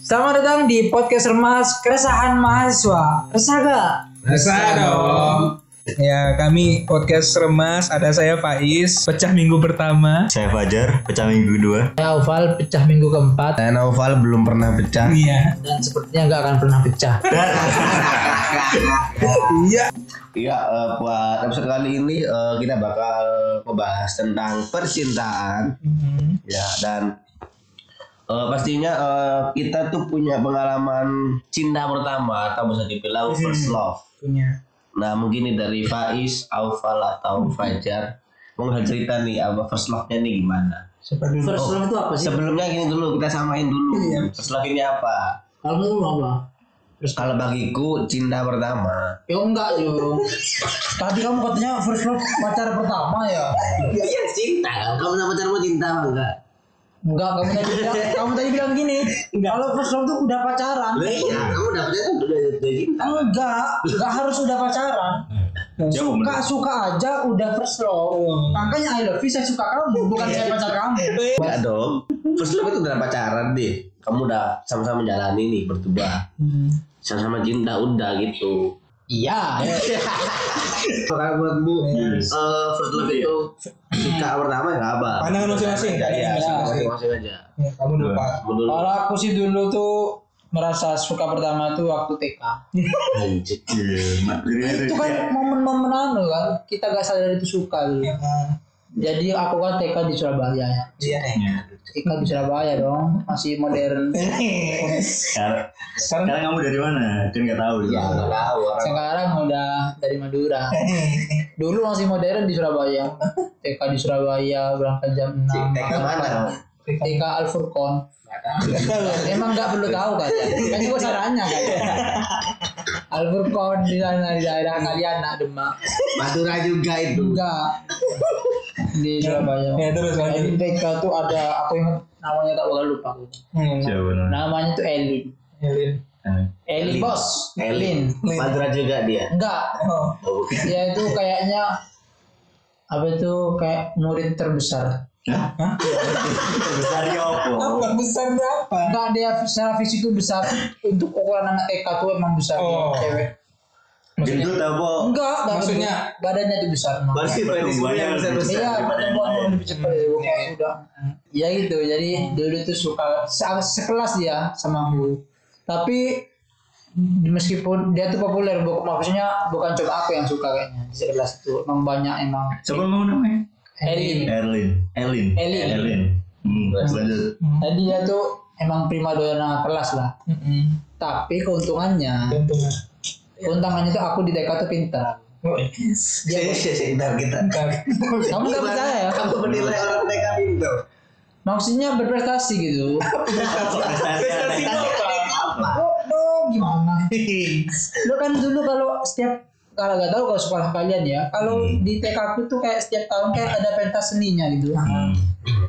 Selamat datang di podcast Remas Keresahan Mahasiswa. Resah gak? Rasa dong. Ya, kami podcast Remas, ada saya Faiz, pecah minggu pertama. Saya Fajar, pecah minggu dua. Ya, oval pecah minggu keempat Dan Oval belum pernah pecah. Iya. dan sepertinya nggak akan pernah pecah. Iya, eh, buat episode kali ini eh, kita bakal membahas tentang percintaan. Mm-hmm. Ya, dan eh, pastinya eh, kita tuh punya pengalaman cinta pertama atau bisa dibilang Hmm. first love. Punya. Nah, mungkin ini dari Faiz, Aufal atau Fajar mungkin cerita nih apa first love-nya nih gimana? Siapa dulu? First love itu apa sih? Hmm. Sebelumnya gini dulu kita samain dulu. First love ini apa? Kamu lu apa? Terus kalau bagiku cinta pertama Ya enggak yo. Tadi kamu katanya first love pacar pertama ya? Iya cinta kan? Kamu sama pacarmu cinta apa enggak? Enggak, kamu tadi bilang, kamu tadi bilang gini. Kalau first love tuh udah pacaran. Lah iya, kamu dapetnya kan udah udah cinta. Enggak, enggak harus udah pacaran. Ya, Suka suka aja udah first Oh. love. Makanya I love you saya suka kamu, Iya. bukan saya pacar kamu. Enggak dong. First love itu udah pacaran deh. Kamu udah sama-sama menjalani nih berdua. Sama-sama cinta udah gitu. Iya. Kalau menurutmu ya. eh, first love itu suka pertama enggak apa? Pandangan masing-masing. Iya, Pandangan masing-masing aja. Ya, kamu lupa. Kamu dulu. Kalau aku sih dulu tuh merasa suka pertama tuh waktu TK. Anjir. Iya. Itu kan momen-momen anu kan, kita gak sadar itu suka dulu. Iya. Jadi aku kan TK di Surabaya ya. Iya. TK di Surabaya dong, masih modern. Sekarang, sekarang kamu dari mana? Kan nggak tahu. Ya, enggak tahu orang. Sekarang udah dari Madura. Iya. Dulu masih modern di Surabaya. TK di Surabaya berangkat jam 6. TK mana? TK Al Furqon. Emang nggak perlu tahu kan? Kan juga sarannya kan. Al Furqon di sana di daerah kalian nak Demak. Madura juga itu. Juga di Surabaya. Ya, terus Jadi lanjut. TK tuh ada aku ingat namanya tak bakal lupa aku. Hmm. Iya. Ya, Siapa namanya? Namanya tuh Elin. Elin. Eh, Elin bos. Elin. Madura juga dia. Enggak. Oh, Oh, bukan. Dia itu kayaknya apa itu kayak murid terbesar. Besar ya apa? Apa besar berapa? Enggak dia secara fisik tuh besar. Untuk ukuran anak TK tuh emang besar. dia, Oh. Cewek. Gendut ya, apa? Enggak, enggak Maksudnya? gendut. badannya tuh besar. emang. Pasti Pertumbuhannya yang lebih besar. besar Iya, daripada yang perempuan lain. lebih cepat Hmm. dari gua, kayak udah. Ya gitu, jadi dulu tuh suka se- sekelas dia sama aku. Tapi meskipun dia tuh populer, bu- maksudnya bukan coba aku yang suka kayaknya di sekelas itu emang banyak emang. Siapa mau namanya? Elin, Erlin. Erlin. Erlin. Erlin. Hmm, lanjut. jadi dia tuh emang prima donna kelas lah. Tapi keuntungannya, Tentunya. keuntungannya tuh aku di TK tuh pintar. Oh, Iya, iya, iya, bentar, kita. Kamu nggak percaya ya? Kamu menilai orang TK pintar. Maksudnya berprestasi gitu. Prestasi lo, lo gimana? lo kan dulu kalau setiap kalau nggak tahu kalau sekolah kalian ya, kalau Hmm. di TK aku tuh kayak setiap tahun kayak ada pentas seninya gitu. Hmm.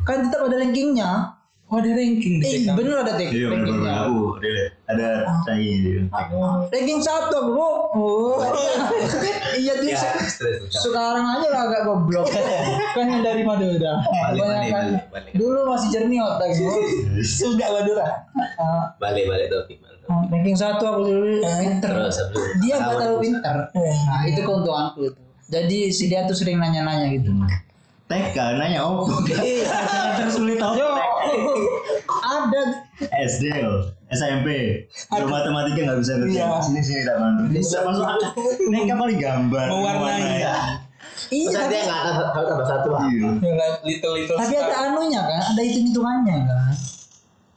Kan tetap ada rankingnya. Oh, ada ranking di Eh, TK. bener ada tek- Iya, benar-benar rankingnya. aku. Dia ada saingan dia. Ah. Ranking satu bro. Oh. iya Ya. tuh se- sekarang aja lah agak goblok. kan yang dari Madura. Kebanyakan. Dulu masih jernih otak gitu. Sudah Madura. Ah, Balik, balik topik. balik. ah, ranking satu aku dulu pinter. Terus, habis itu. dia nggak terlalu pintar nah itu keuntunganku itu jadi si dia tuh sering nanya-nanya gitu Hmm. TK nanya apa? Tersulit apa? ada SD loh, SMP. Kalau matematika nggak bisa kerja. Sini sini tak bantu. Bisa masuk akal. Ini kan paling gambar. Mewarnai. iya Terus tapi, dia nggak ada kalau tambah satu apa? Iya. Little little. tapi ada anunya kan ada hitung-hitungannya kan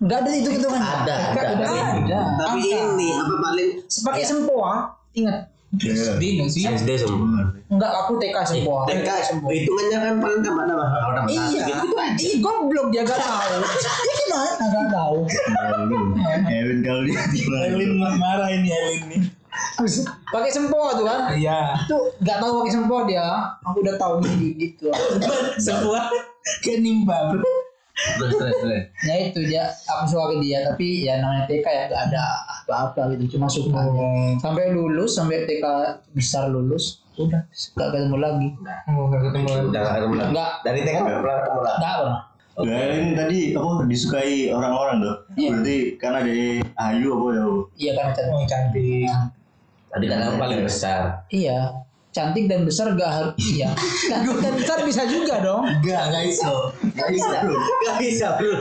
nggak ada hitung-hitungannya Ada, ada. ada, ada. Tapi iya. ini apa paling pakai sempoa ingat Iya. Di nggak sih? SD semua. nggak aku TK sempoa TK hitungannya kan paling tambah tambah kalau tambah satu. iya gitu. iya goblok dia gak tahu dia gimana gak tahu Malu. Elin kalau dia gimana? Elin ma- marah ini Elin nih. pakai sempoa tuh kan Iya. itu nggak tahu pakai sempoa dia aku udah tahu gini gitu Sebuah kenimbang. Terus terus terus. ya itu dia aku suka ke dia tapi ya namanya TK ya gak ada apa-apa gitu cuma suka sampai lulus sampai TK besar lulus udah gak ketemu lagi Oh, nggak ketemu lagi. Udah nggak ketemu lagi. Nggak. Dari TK nggak pernah ketemu lagi. gak pernah Dan tadi apa disukai orang-orang tuh. Iya. Berarti karena dari Ayu apa ya? Bu? Iya karena cantik. Oh, cantik. Tadi kadang paling besar. Iya. Cantik dan besar gak harus iya. Cantik dan besar bisa juga dong. Enggak, enggak iso. Enggak bisa, Bro. Enggak bisa, Bro.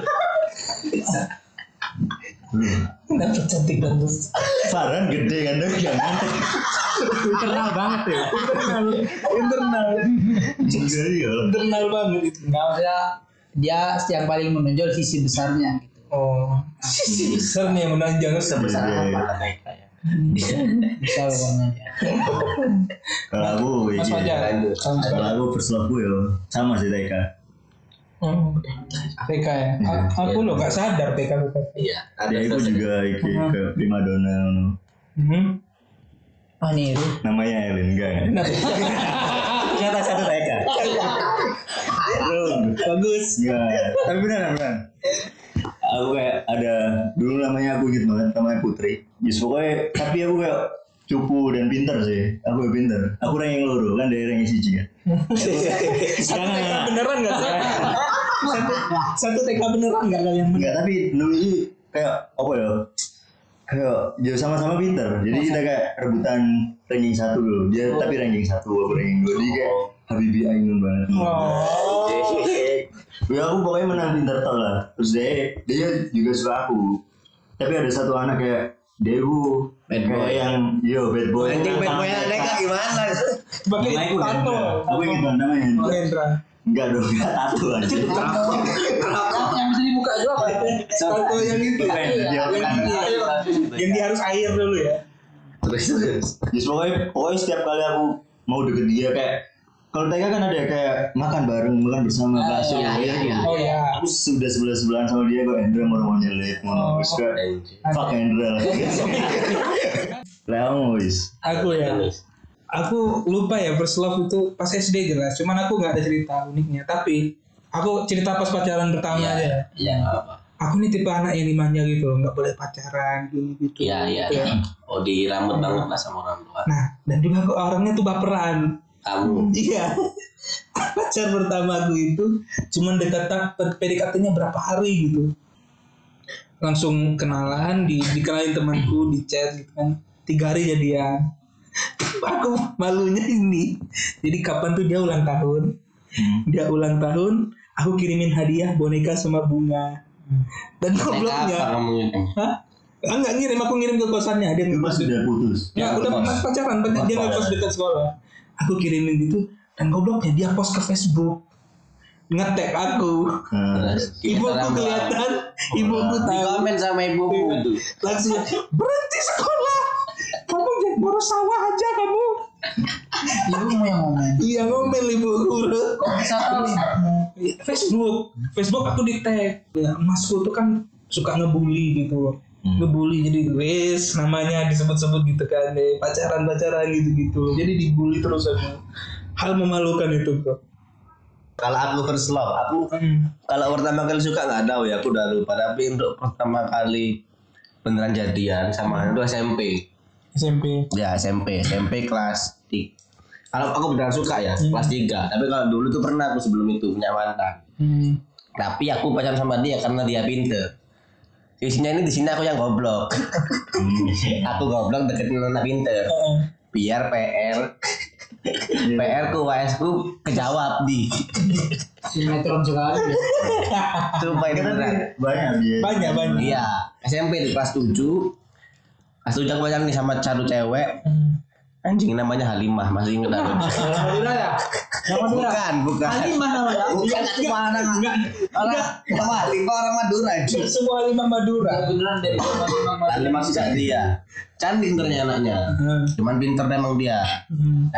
Kenapa cantik dan besar? Farhan gede kan tuh jangan. Internal banget ya. Internal. Jadi ya. Internal banget itu. Nggak maksudnya dia yang paling menonjol sisi besarnya gitu. Oh. Besar nih yang menonjol sebesar. Besar Iya, iya. apa ya. lah naik kayak. Iya. Bisa pokoknya. Kalau aku Iya, Mas ini. Fajar. Lanjut. Kalau aku berselingkuh ya sama sih TK. Hmm. TK ya. A- aku loh gak sadar TK aku. Iya, ada Ya aku sosok. juga iki ke primadona. Hmm. Oh nih, Ru. Namanya Elin enggak ya? Kata satu TK. Bagus. Iya. Enggak. Tapi beneran beneran. Aku kayak ada dulu namanya aku gitu kan, namanya Putri. Just pokoknya tapi aku kayak cupu dan pinter sih. Aku kayak pinter. Aku ranking loro kan dari ranking siji kan. Jangan. Beneran gak sih? Satu TK beneran gak kalian? Enggak, tapi dulu itu kayak apa ya? Kayak jauh sama-sama pinter. Jadi kita kayak rebutan ranking satu dulu. Oh. Dia tapi ranking satu, aku ranking dua. Jadi kayak Habibi Ainun banget. Oh. Ya aku pokoknya menang pinter tau lah. Terus dia dia juga suka aku. Tapi ada satu anak kayak Dewu Bad kayak boy. yang yo bad boy. Anjing bad boy anak TK gimana? Sebagai Iya, Namanya aku tato. Hendra. Aku ingin bilang namanya Hendra. Hendra. Enggak dong, enggak tato anjing. yang bisa dibuka itu apa? Iya, Tato yang itu. Bukan, dia bukan. Yang dia harus air dulu ya. Terus terus. Jadi pokoknya, Ya, pokoknya setiap kali aku mau deket dia kayak kalau TK kan ada kayak makan bareng, makan bersama bakso. iya, iya, iya. Oh ya. Aku sudah sebelah sebelahan sama dia kok Hendra mau mau nyelit Oh, mau terus kayak Anjing. fuck Hendra. Leong wis. Aku ya. Aku lupa ya first love itu pas SD jelas. Cuman aku nggak ada cerita uniknya. Tapi aku cerita pas pacaran pertama aja. Iya, nggak apa. Aku nih tipe anak yang dimanja gitu loh, nggak boleh pacaran gini gitu. Iya, iya. gitu ya. Oh, diramut banget lah sama orang tua. Nah, dan juga aku orangnya tuh baperan. Kamu. Iya. Pacar pertama aku itu cuman dekat PDKT-nya berapa hari gitu. Langsung kenalan, di, dikenalin temanku di chat gitu kan. Tiga hari jadian. aku malunya ini. Jadi kapan tuh dia ulang tahun? Dia ulang tahun, aku kirimin hadiah boneka sama bunga. Dan Apa gobloknya, kamu ini? hah? Ah, Enggak ngirim, aku ngirim ke kosannya. Dia Itu pas sudah putus. Ya, udah pas pacaran, pacaran dia nggak Pacaran. post dekat sekolah. Aku kirimin gitu dan gobloknya dia post ke Facebook. Ngetek aku. Nah, Terus. Ibuku Orang- kelihatan, ibuku Di tahu. komen sama ibuku tuh. Langsung berhenti sekolah. Kamu jangan baru sawah aja kamu. Ibu mau yang ngomong. Iya ngomel ibu guru. Bisa tahu. Facebook, Facebook aku di tag. Ya, masku tuh kan suka ngebully gitu loh. Ngebully jadi wes namanya disebut-sebut gitu kan deh. Pacaran-pacaran gitu-gitu. Jadi dibully terus aku. Hal memalukan itu kok. Kalau aku first love, aku kalau pertama kali suka nggak tahu ya, aku udah lupa. Tapi untuk pertama kali beneran jadian sama itu SMP. SMP. Ya SMP, SMP kelas 3. Kalau aku beneran suka ya, kelas 3. Tapi kalau dulu tuh pernah aku sebelum itu punya mantan. Hmm. Tapi aku pacaran sama dia karena dia pinter. Isinya ini di sini aku yang goblok. aku goblok deketin anak pinter. Biar PR PR ku WS ku kejawab di. Sinetron sekali. ya. Sumpah ini beneran. banyak dia. Banyak banyak. Iya, SMP di kelas 7. Kelas 7 aku pacaran nih sama satu cewek. Hmm. Anjing namanya Halimah, masih ingat aku. Alhamdulillah ya. Bukan, bukan. Halimah namanya. Bukan itu orang orang orang Halimah orang Madura. cuy. Semua lima Madura. Beneran deh. Halimah sih kayak dia. Cantik ternyata Kan anaknya. Cuman pinter emang dia.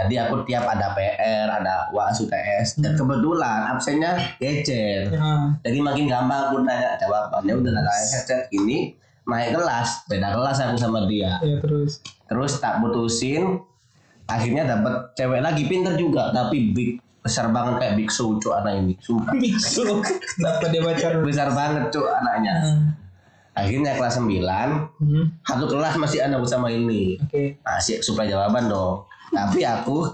Jadi aku tiap ada PR, ada UAS, UTS, dan kebetulan absennya gecer. Ya. Nah, Jadi makin gampang aku nanya jawabannya udah ada headset gini naik kelas beda kelas aku sama dia ya Hmm. terus. terus tak putusin akhirnya dapat cewek lagi pinter juga tapi big besar banget kayak big show cuk anak ini sumpah Biksu. Dapat dia pacaran. besar banget cuk anaknya akhirnya kelas 9 Ah. Hmm, satu kelas masih anak sama ini Oke. masih supply jawaban dong tapi aku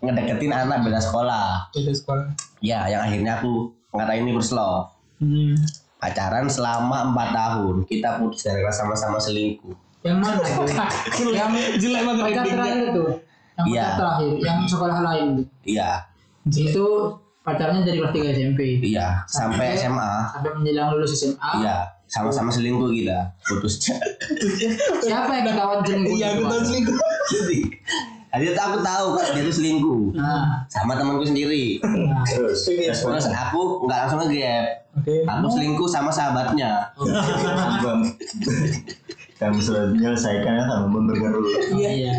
ngedeketin anak beda sekolah Beda sekolah. ya yang akhirnya aku ngatain ini first love Hmm. pacaran selama empat tahun kita putus karena sama-sama selingkuh Yang mana itu? yang Jelek banget pacar endingnya. terakhir itu. Yang Iya. pacar terakhir, yang sekolah lain itu. iya Itu pacarnya dari kelas 3 SMP. iya sampai SMA Sampai menjelang lulus SMA. iya sama-sama selingkuh kita putus Siapa yang ketahuan selingkuh? Iya, aku itu, tahu Mas? selingkuh. Jadi aku tahu kan dia tuh selingkuh Nah, sama temanku sendiri. Terus Terus aku nggak langsung nge-gap. oke. Aku selingkuh sama sahabatnya. Hmm. Bang. Kami sudah menyelesaikannya sama memberger dulu. Iya.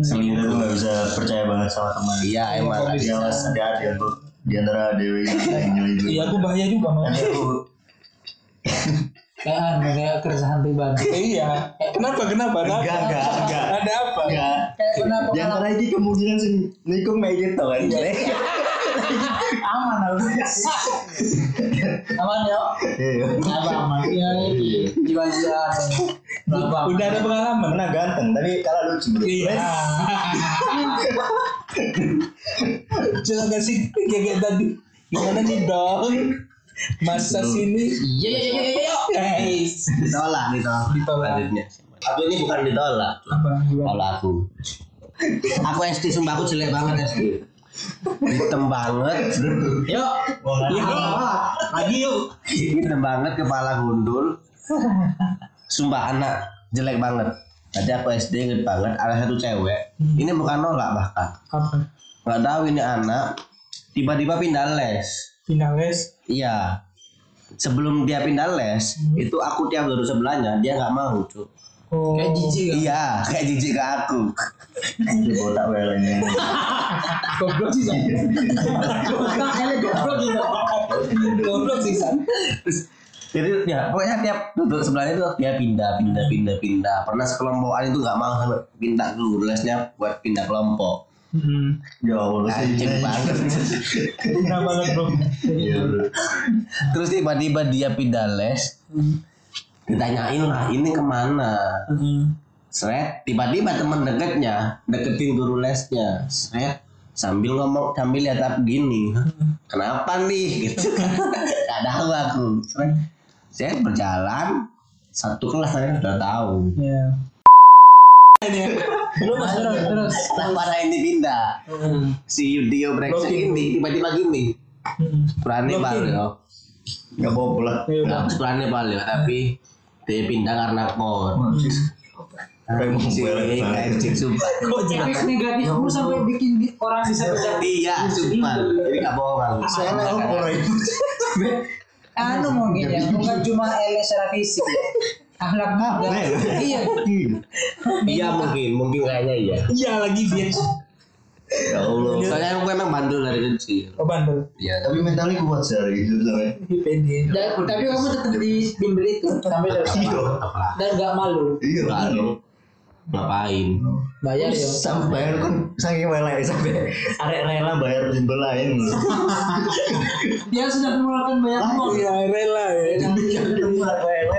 Kita tuh nggak bisa percaya banget sama teman. Iya emang. lah. Dia harus ada ada tuh di antara Dewi dan Juli. Iya, aku bahaya juga mas. Nanti aku Kayak anu, kayak keresahan pribadi. iya. Kenapa? Kenapa? Nah, Ada enggak apa? enggak enggak Ada apa? enggak. Kayak kenapa? Di antara ini kemungkinan sih Niko kayak gitu kan. Iya. Aman aku. Aman ya. Iya. Apa aman? Ya, jiwa-jiwa. Apa? Udah ada pengalaman. Pernah ganteng tapi kalah lucu. Iya. Coba kasih kayak tadi. Gimana nih dong? Masa sini? Iya, iya, iya, iya, iya. Guys. Ditolak ditolak. Ditolak. Lanjutnya. Aku ini bukan ditolak. Apa? Kalau aku. Aku SD sumpah aku jelek banget SD. Hitam banget. Yuk. Iya. Lagi yuk. Hitam banget kepala gundul. Sumpah anak jelek banget. Tadi aku SD inget banget ada satu cewek. Ini bukan nolak bahkan. Apa? nggak tahu ini anak tiba-tiba pindah les Finalis. iya sebelum dia pindah les itu aku tiap duduk sebelahnya dia nggak mau tuh Oh. Kayak jijik ya. iya kayak jijik ke aku Itu botak welenya. Goblok sih San. Nah, ini goblok juga. Goblok sih San. Terus, jadi ya pokoknya tiap duduk sebelahnya itu dia pindah pindah pindah pindah pernah sekelompokan itu nggak mau sampai pindah dulu lesnya buat pindah kelompok Ya Allah. Hmm. anjing banget Kenapa banget bro? Iya, bro. terus tiba-tiba dia pindah les ditanyain lah ini kemana seret tiba-tiba teman deketnya deketin guru lesnya seret sambil ngomong sambil lihat aku gini kenapa nih gitu gak tahu aku seret saya berjalan satu kelas saya sudah tahu Ya. Nah, Terus, terus. nah para ini pindah si Dio Brexit ini tiba-tiba gini berani banget ya Enggak bawa pulang. Iya, Nah, sebenarnya paling tapi dia pindah karena kon. Hmm. Kayak mau Si balik. kayak cek sumpah. Efek negatifmu sampai bikin di- orang bisa bisa Iya, sumpah. Jadi gak bohong. aku. Saya mau pulang. anu mungkin ya bukan cuma ele secara fisik ya. akhlak Nah, maaf ya. iya Iya mungkin, mungkin kayaknya iya. Iya lagi dia. Ya Allah. Soalnya aku emang bandel dari kecil. Oh bandel. Iya. Tapi mentalnya kuat sih hari itu sebenarnya. Pede. Dan- tapi kamu tetap di bimbel itu sampai dari Iya. Apa? dan nggak malu Iya. Lalu ngapain? bayar ya Sampai bayar kan saking welai sampai arek rela bayar bimbel lain. Iya. dia sudah mengeluarkan banyak uang Ya rela ya. Yang ketemu arek rela.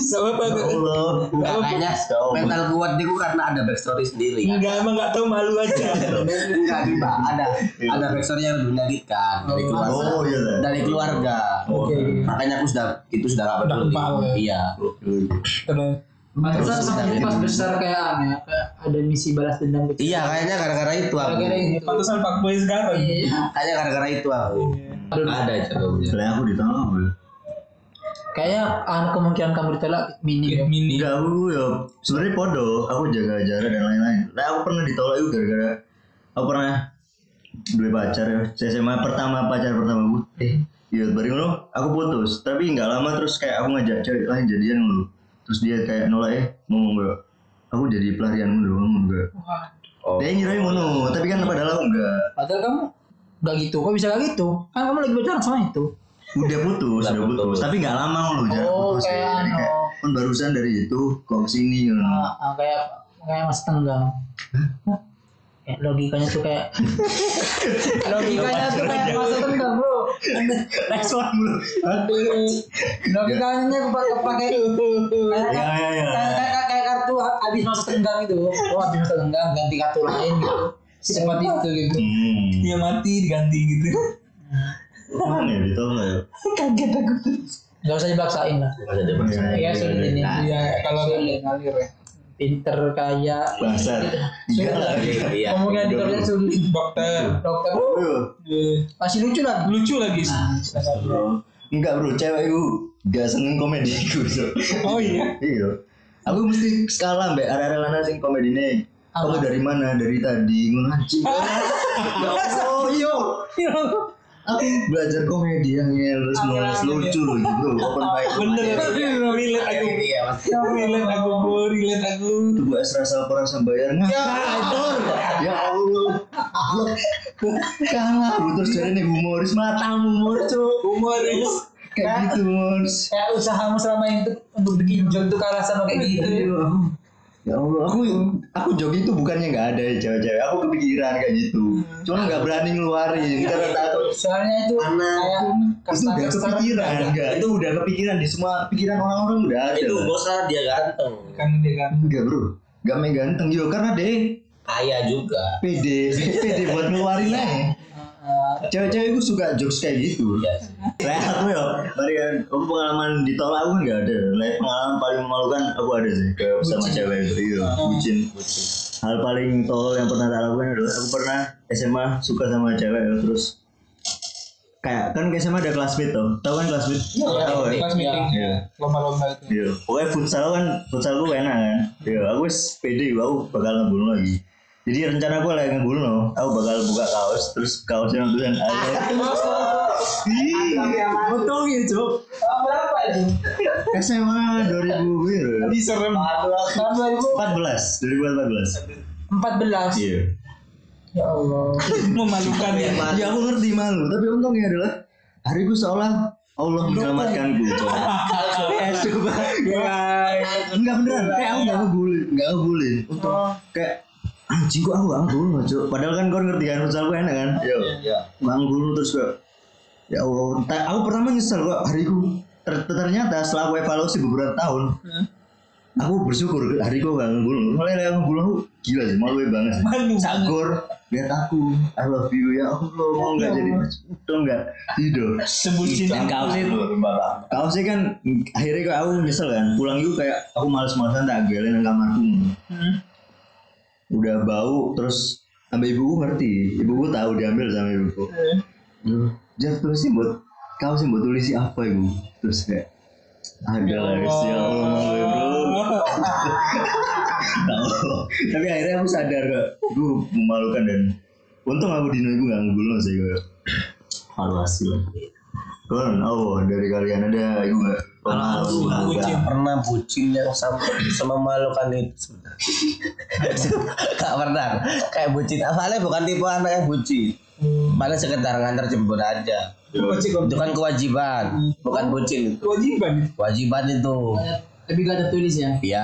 Gak apa-apa. Ya Allah. Ya Enggak kayaknya mental kuat dia karena ada backstory sendiri. kan? Enggak emang gak tahu malu aja. Iya, Enggak juga ada ada backstory yang lebih menyakitkan dari keluarga. Oh iya. Zan. Dari keluarga. Oke. Makanya aku sudah itu sudah gak Udah peduli. kepal ya. Iya. Oke. Terus. masa sampai pas besar kayak anu ya kayak ada misi balas dendam gitu. kecil Iya, kayaknya gara-gara itu aku. gara-gara itu Pantesan Pak Boy sekarang. Iya. Kayaknya gara-gara itu aku. Ada aja dulu. Soalnya aku ditolak. Bro. kayaknya anu kemungkinan kamu ditolak minim Mini. Enggak aku ya sebenarnya podo. Aku jaga jarak dan lain-lain. Nah aku pernah ditolak itu gara-gara aku pernah dua pacar ya. SMA pertama pacar pertama aku. Iya, baru ngono aku putus. Tapi nggak lama terus kayak aku ngajak cewek lain jadian dulu. Terus dia kayak nolak eh mau enggak. Aku jadi pelarian dulu kamu enggak. Dia ngira Eh, ngono, tapi kan padahal aku enggak. padahal kamu nggak gitu kok bisa nggak gitu kan kamu lagi pacaran sama itu Udah putus, udah putus. Tapi nggak lama ngono jarak Oh, putus. kayak Jadi kayak anu. kan barusan dari itu kok ke sini ngono. Ah, ah, kayak kayak mas tenggang Hah? Kayak logikanya tuh kayak logikanya tuh kayak mas tenggang bro Next one bro. logikanya pakai pakai kayak- Ya ya ya. kayak kayak- kayak kartu habis masa tenggang itu oh habis masa tenggang ganti kartu lain gitu seperti itu gitu Hmm. Dia mati diganti gitu. Mana ya ditolong ya? kaget aku Gak usah dibaksain lah. Masa dia bahasa. Ya Iya, sulit ini. iya. Nah. Iya, kalau Sulit. ngalir ya. Pinter kaya. Bahasa tiga lah. Iya. Ngomongnya di toilet sulit. Dokter. Dokter Aduh. Eh, masih lucu lah. Nah, lucu lagi. Enggak bro, cewek itu gak seneng komedi itu. Oh iya. Iya. Aku mesti skala mbak ada ada mana sih komedi ini. Apa? Kamu dari mana? Dari tadi ngono anjing. Ya Allah, yo. Aku belajar komedi yang terus nulis lucu loh bro. Open mic. Bener, bener, relate aku. Iya, Mas. Relate aku, Bu. relate aku. Itu Bu Esra Salpora Sambayar Ya Allah Ya Allah Kalah Bu terus jadi nih humoris Matamu humor cu Humoris. Kayak gitu humoris Kayak usahamu selama ini untuk, untuk bikin job tuh kalah sama kayak gitu. Ya Allah, aku aku joki itu bukannya nggak ada ya cewek-cewek. Aku kepikiran kayak gitu. Cuman nggak berani ngeluarin karena takut. Soalnya itu kayak Itu udah kasar-kasar. kepikiran, enggak. Itu udah kepikiran di semua pikiran orang-orang udah ada. Itu bos karena dia ganteng. Karena dia kan. Enggak bro, nggak main ganteng yo karena deh Kaya juga. PD, PD buat ngeluarin lah. Heeh. Cewek-cewek gue suka jokes kayak gitu. Iya sih. Kayak aku ya, mari kan, aku pengalaman ditolak aku kan nggak ada. Like pengalaman paling memalukan aku ada sih, kayak sama cewek itu, iya, bucin. Hal paling tolol yang pernah tak lakukan adalah aku pernah SMA suka sama cewek ya, terus kayak kan ke SMA ada classmate tuh, tau kan classmate? Iya, Tau ya? Pas meeting. Iya. Lomba-lomba itu. Iya, pokoknya futsal kan, futsal gue enak kan. Iya, aku wis pede, aku bakal ngebunuh lagi. Jadi rencana gue lagi ngebunuh, aku bakal buka kaos, terus kaosnya kan, tulisan I love you. Ih, Betul gitu, Berapa itu? SMA 2000 biru. Tadi serem. Tahun 14, 2014. 2014. Iya. Ya Allah. Memalukan Iya. ya. Ya aku ngerti malu, tapi untungnya adalah hari gue seolah Allah menyelamatkanku. Kayak coba. Enggak beneran, kayak aku enggak ngebully, enggak ngebully. Untung Oh. kayak anjing kok aku gak ngebully, Cuk. Padahal kan kau ngerti kan, futsal gue enak kan. Iya. Iya. Gak ngebully terus kayak ya Allah, ta- aku pertama nyesel kok hariku. Ter- ternyata setelah aku evaluasi beberapa tahun, aku bersyukur hari gue gak ngebully. Mulai aku ngebully aku gila sih, malu banget. sih. Malu. Sagor lihat aku I love you ya Allah mau nggak jadi itu nggak Iya, tidur Sebutin kaosnya kaosnya kan akhirnya kok aku nyesel kan pulang itu kayak aku males-malesan tak gelin nang kamarku udah bau terus sampai ibuku ngerti ibuku tahu diambil sama ibuku Duh, jangan tulisin buat kamu sih buat tulisi apa ibu terus kayak ada lah guys ya Allah malu, bro Tahu. tapi akhirnya aku sadar kok gue memalukan dan untung aku dino ibu gak ngegulung sih gue evaluasi lah Kon, oh dari kalian ada ibu "Oh, gak? Aku aku Pengalaman. gak pernah bucin yang sama sama memalukan itu sebenarnya. Gak pernah. Kayak bucin. Awalnya bukan tipe anak yang bucin. Paling sekedar ngantar jemput aja. Itu kan kewajiban, bukan bucin. Kewajiban itu. Kewajiban itu. Tapi gak tertulis ya. Iya,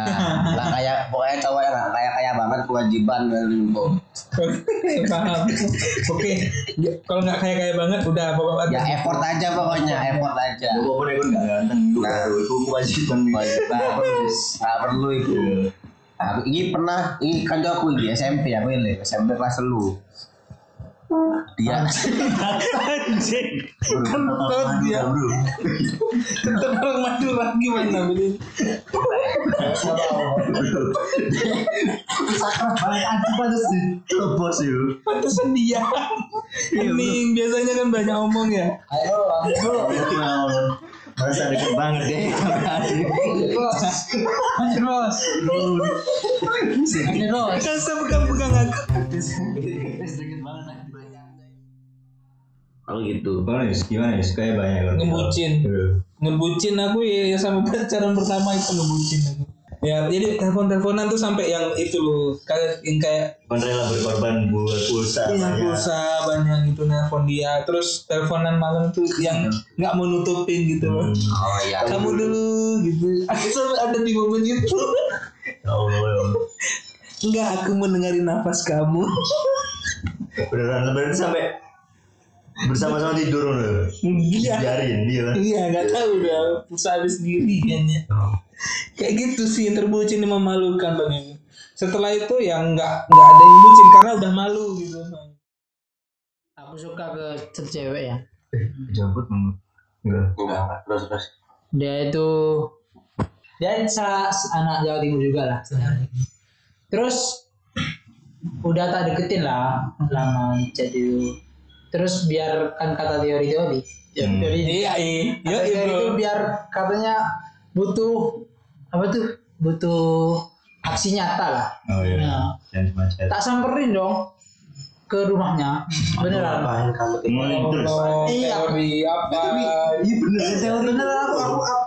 lah kayak pokoknya cowok yang gak kaya kaya banget kewajiban dan limbo. Paham. Oke. Ya, Kalau nggak kaya kaya banget udah bapak Ya effort aja pokoknya, effort aja. Gue pun ikut gak ganteng, gue baru itu kewajiban nih. Kewajiban. Gak perlu itu. Aku ini pernah, ini kan aku ini SMP aku ini SMP kelas lu. Dia anjing. Bro, Kentut dia. bro. Kentut orang Madura gimana ini? Sakral banget, anjing pantas ditebos itu. Pantesan dia. Ini biasanya kan banyak omong ya. Ayo, Ya Allah. Merasa deket banget ya. deh sama adik. Bos. Anjir bos. Anjir bos. Kasih Kan pegang-pegang aku. Oh gitu. Gimana Yus? Gimana Yus? Kayak banyak orang. Ngebucin. Iya. ngebucin aku ya sama pacaran pertama itu ngebucin aku ya jadi telepon teleponan tuh sampai yang itu loh kayak yang kayak Kan rela berkorban buat pulsa. ya. yang banyak. pulsa banyak itu nelpon dia terus teleponan malam tuh yang nggak mau nutupin gitu loh Oh iya. kamu dulu gitu aku sampai ada di momen itu Ya Allah. ya Allah. nggak aku mendengarin nafas kamu Beneran lebaran sampai bersama-sama tidur loh. iya Biarin dia. iya nggak tahu udah pulsa habis sendiri kayaknya kayak gitu sih terbucin yang memalukan bagi setelah itu yang nggak nggak ada yang bucin karena udah malu gitu Aku suka ke cewek ya. eh jabut enggak enggak Enggak, enggak. Terus, terus. dia itu dia salah anak Jawa Timur juga lah sebenarnya. Terus udah tak deketin lah lama chat itu. Terus biarkan kata teori teori. Ya, Hmm. teori Iya, iya. Yo, kata iya, teori bro. itu biar katanya butuh apa tuh butuh aksi nyata lah. oh iya Iya. jangan cuma chat Tak samperin dong ke rumahnya beneran. Apaan kamu tuh? Hmm, terus Oh, Iya. teori apa? iya bener teori Beneran aku aku aku-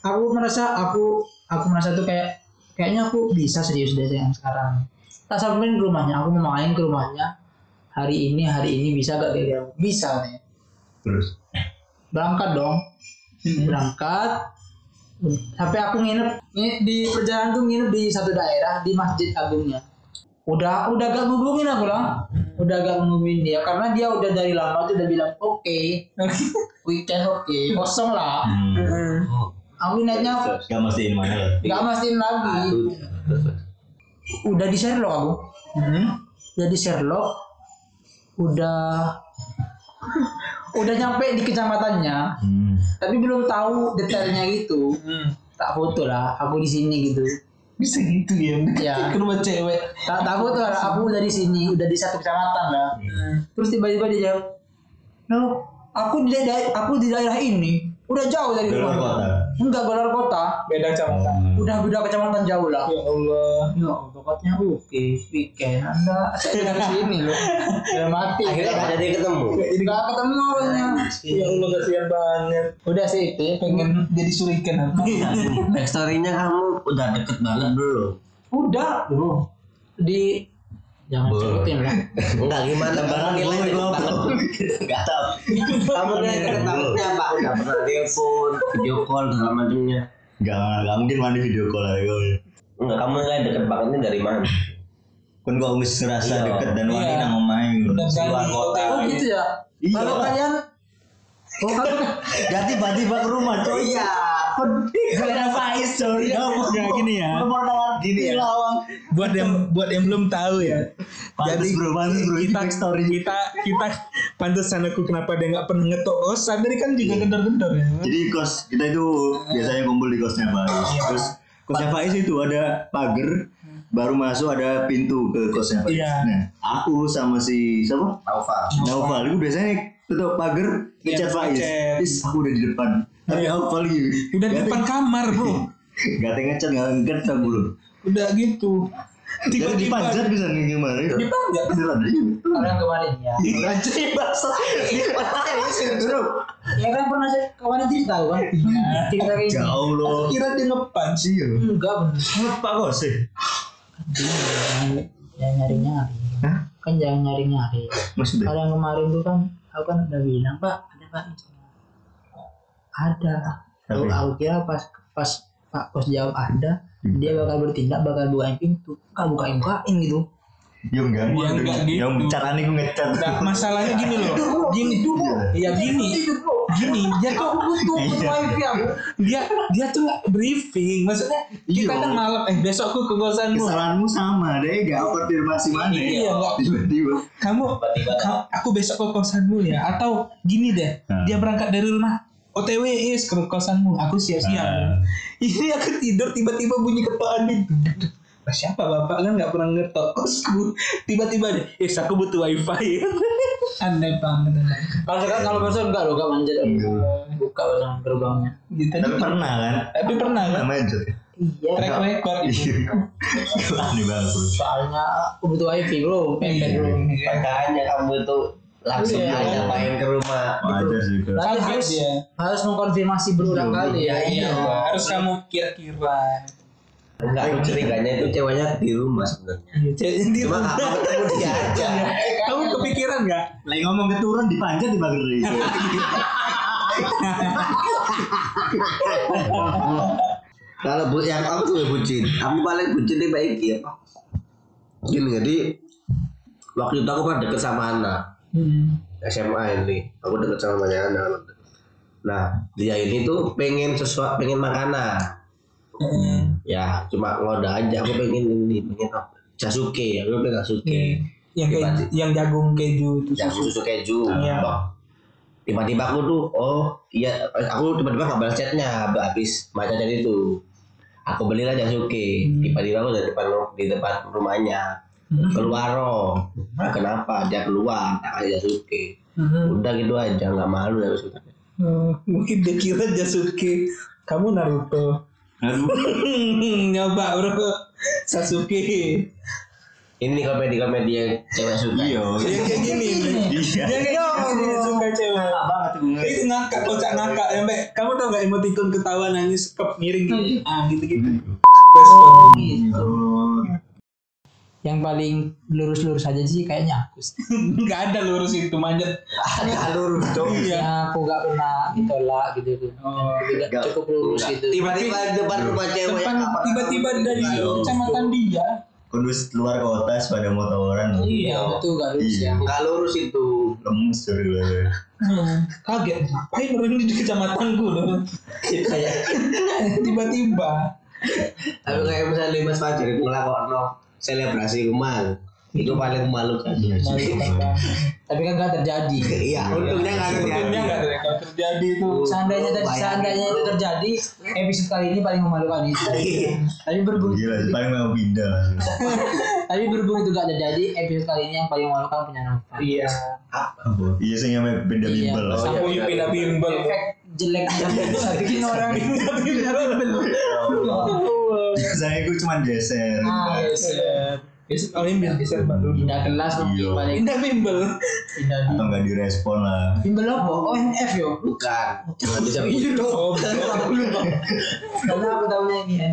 aku merasa aku aku merasa tuh kayak kayaknya aku bisa serius deh yang sekarang. Tak samperin ke rumahnya, aku mau main ke rumahnya hari ini hari ini bisa gak dia bilang bisa nih terus berangkat dong berangkat tapi aku nginep ngi- di perjalanan tuh nginep di satu daerah di masjid agungnya udah udah gak ngubungin aku lah udah gak ngubungin dia karena dia udah dari lama tuh udah bilang oke weekend oke kosong lah hmm. aku niatnya gak mastiin mana lah gak mastiin lagi udah di Sherlock aku Hmm? udah di Sherlock udah udah nyampe di kecamatannya hmm. tapi belum tahu detailnya gitu Hmm. tak foto lah aku di sini gitu Bisa gitu ya. Iya. Ke rumah cewek. tak tak foto lah aku udah di sini udah di satu kecamatan lah Hmm. terus tiba-tiba dia jawab no aku di daerah aku di daerah ini udah jauh dari Di luar rumah kota. enggak luar kota Beda kecamatan. udah beda kecamatan jauh lah Ya Allah. ya Allah, katanya oke weekend anda saya di sini loh udah mati Akhirnya nggak jadi ketemu. nggak ketemu awalnya Ya Allah kasihan banget. Iya. udah sih itu Pengen jadi suriken apa? Backstory-nya kamu udah deket banget belum? udah loh di jangan ceritain lah Enggak gimana baru nilai deket banget. Enggak tahu. Kamu nilai deket bangetnya apa? Udah pernah telepon, video call segala macamnya. gak gak mungkin mandi video call lah ya Enggak, kamu nilai deket bangetnya dari mana? kan kok wis ngerasa Iya. deket dan wani Iya. nang omahe ngono. Luar kota. oh gitu ya Iya. kalau kalian oh kalau Jadi tiba-tiba ke rumah coy. Iya. Karena Faiz coy. Ya, gini ya. Nomor nawar gini ya. buat yang buat yang belum tahu ya. Pantes bro, pantes bro. Ini kita backstory. kita kita pantesan aku kenapa dia nggak pernah ngetok kosan tadi kan juga kendor-kendor ya. Jadi kos kita itu biasanya kumpul di kosnya Faiz. Terus Iya. kosnya Faiz itu ada pagar baru masuk ada pintu ke kosnya Faiz. Iya. Nah, aku sama si siapa? Alfa. Naufal. Itu biasanya tutup pagar ngecat Faiz. ngechat. Is aku udah di depan. Tapi Naufal gitu. Udah di depan kamar bro. Gak tega ngecat gak ngecat aku bro. Udah gitu. Jadi dipanjat bisa nih gimana? Dipanjat beneran. iya. orang kemarin ya Anjing bahasa iya, ya kan pernah saya kemarin cerita kan cerita kayak Ya gini Allah. Kira dia ngepan. Anjing ya. enggak bener Apa kok sih? jangan nyari nyari Hah? kan jangan nyari nyari Maksudnya? kalau yang kemarin tuh kan aku kan udah bilang pak ada pak ada aku, Tapi- aku kira pas pas pak pos jawab ada dia bakal bertindak bakal bukain pintu ah bukain bukain gitu Ya enggak. Ya enggak gitu. Ya caranya gue ngecat. Nah, masalahnya gini loh. Gini Iya gini. Gini dia tuh butuh butuh wifi aku dia dia tuh nggak briefing. Maksudnya kita Iya. kan malam eh besok aku ke kosanmu. Kesalahanmu sama deh, gak konfirmasi mana. ya? Iya, enggak. Tiba-tiba. kamu ka- aku besok ke kosanmu ya atau gini deh Hmm. dia berangkat dari rumah OTW is ke kosanmu aku siap-siap Hmm. ini aku tidur tiba-tiba bunyi ketuaan itu Lah, siapa bapak kan nggak pernah ngetok kosku tiba-tiba deh is aku butuh wifi aneh banget aneh. kalau sekarang kalau besok enggak loh enggak manjat Iya. buka pasang gerbangnya gitu Tapi pernah kan? tapi pernah kan Namanya Jod. iya track record itu Iya. Aneh banget bro. soalnya aku butuh wifi Iya. bro gitu. pendek bro Kan Makanya kamu itu langsung Iya. aja main ke rumah. Wajar sih Kak. Tapi Kaget harus dia. harus mengkonfirmasi berulang kali ya. iya harus kamu kira-kira Enggak, Iya. aku curiganya itu ceweknya di rumah sebenarnya. Ceweknya di Cuma nggak rumah. mau ketemu dia aja. kamu kepikiran nggak Lagi ngomong keturun dipanjat di pagar itu. Kalau bu, yang aku tuh bucin, aku paling bucin di baik ya. Gini jadi waktu itu aku pernah deket sama anak SMA ini, aku deket sama banyak anak. Nah dia ini tuh pengen sesuatu, pengen makanan. Ya cuma ngode aja, aku pengen ini, pengen apa? Jasuke, aku pengen Jasuke. yang keju, yang jagung keju itu Yang susu keju. Iya. Bang. tiba-tiba aku tuh oh iya aku tiba-tiba nggak balas chatnya habis baca chat itu aku belilah Jasuke tiba-tiba aku dari depan ru- di depan rumahnya keluar oh Nah, kenapa dia keluar tak kasih Jasuke udah gitu aja nggak malu ya maksudnya Hmm, mungkin dia kira Jasuke kamu Naruto nyoba bro Sasuke ini nih komedi-komedi yang cewek suka Iya. dia kayak gini nih. Iya. dia kayak gini dia suka cewek Enak banget tuh bener. itu ngakak kocak ngakak sampai kamu tau gak emoticon ketawa nangis kep miring gitu ah gitu gitu Iya. respon Yang paling lurus-lurus aja sih kayaknya aku sih. nggak ada lurus itu manjat alur dong Iya. Ya, aku gak pernah ditolak gitu. gitu. Oh, Tidak enggak. cukup lurus gitu. tiba-tiba di depan rumah cewek yang depan nggak pernah tiba-tiba tahu. dari kecamatan dia Kudus luar kota pada motoran. Iya, itu gak lurus ya. Iya. nggak lurus itu Lemes dari luar. kaget ngapain orang ini di kecamatanku dong kayak tiba-tiba tapi kayak misalnya Mas Fajar itu ngelakono selebrasi kemal itu paling memalukan Iya, cuy. Tapi kan gak terjadi. iya untungnya nggak untungnya nggak terjadi ada yang terjadi itu Seandainya tadi seandainya itu terjadi, episode kali ini paling memalukan itu. Tapi berhubung Gila, paling mau pindah. tapi berhubung itu gak terjadi, episode kali ini yang paling memalukan punya Nova. iya Iya sih nyampe pindah Iya, bimbel. pas iya. aku yuk pindah bimbel Efek jeleknya bisa bikin orang pindah bimbel Biasanya gue cuma geser. Ah, Geser, oh ini geser baru pindah kelas mungkin Iya. balik pindah bimbel pindah di Atau nggak direspon lah. bimbel apa? ONF yo. bukan cuma bisa Oh, Karena aku tahunya ini ya.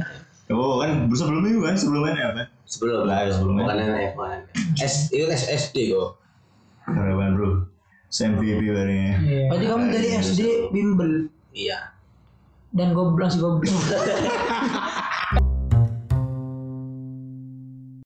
Oh kan sebelumnya juga kan sebelumnya ini apa? sebelum lah sebelum bukan F1 S itu S SD kok Harapan bro. MVP barengnya. iya. Berarti kamu dari SD bimbel iya dan goblok sih goblok.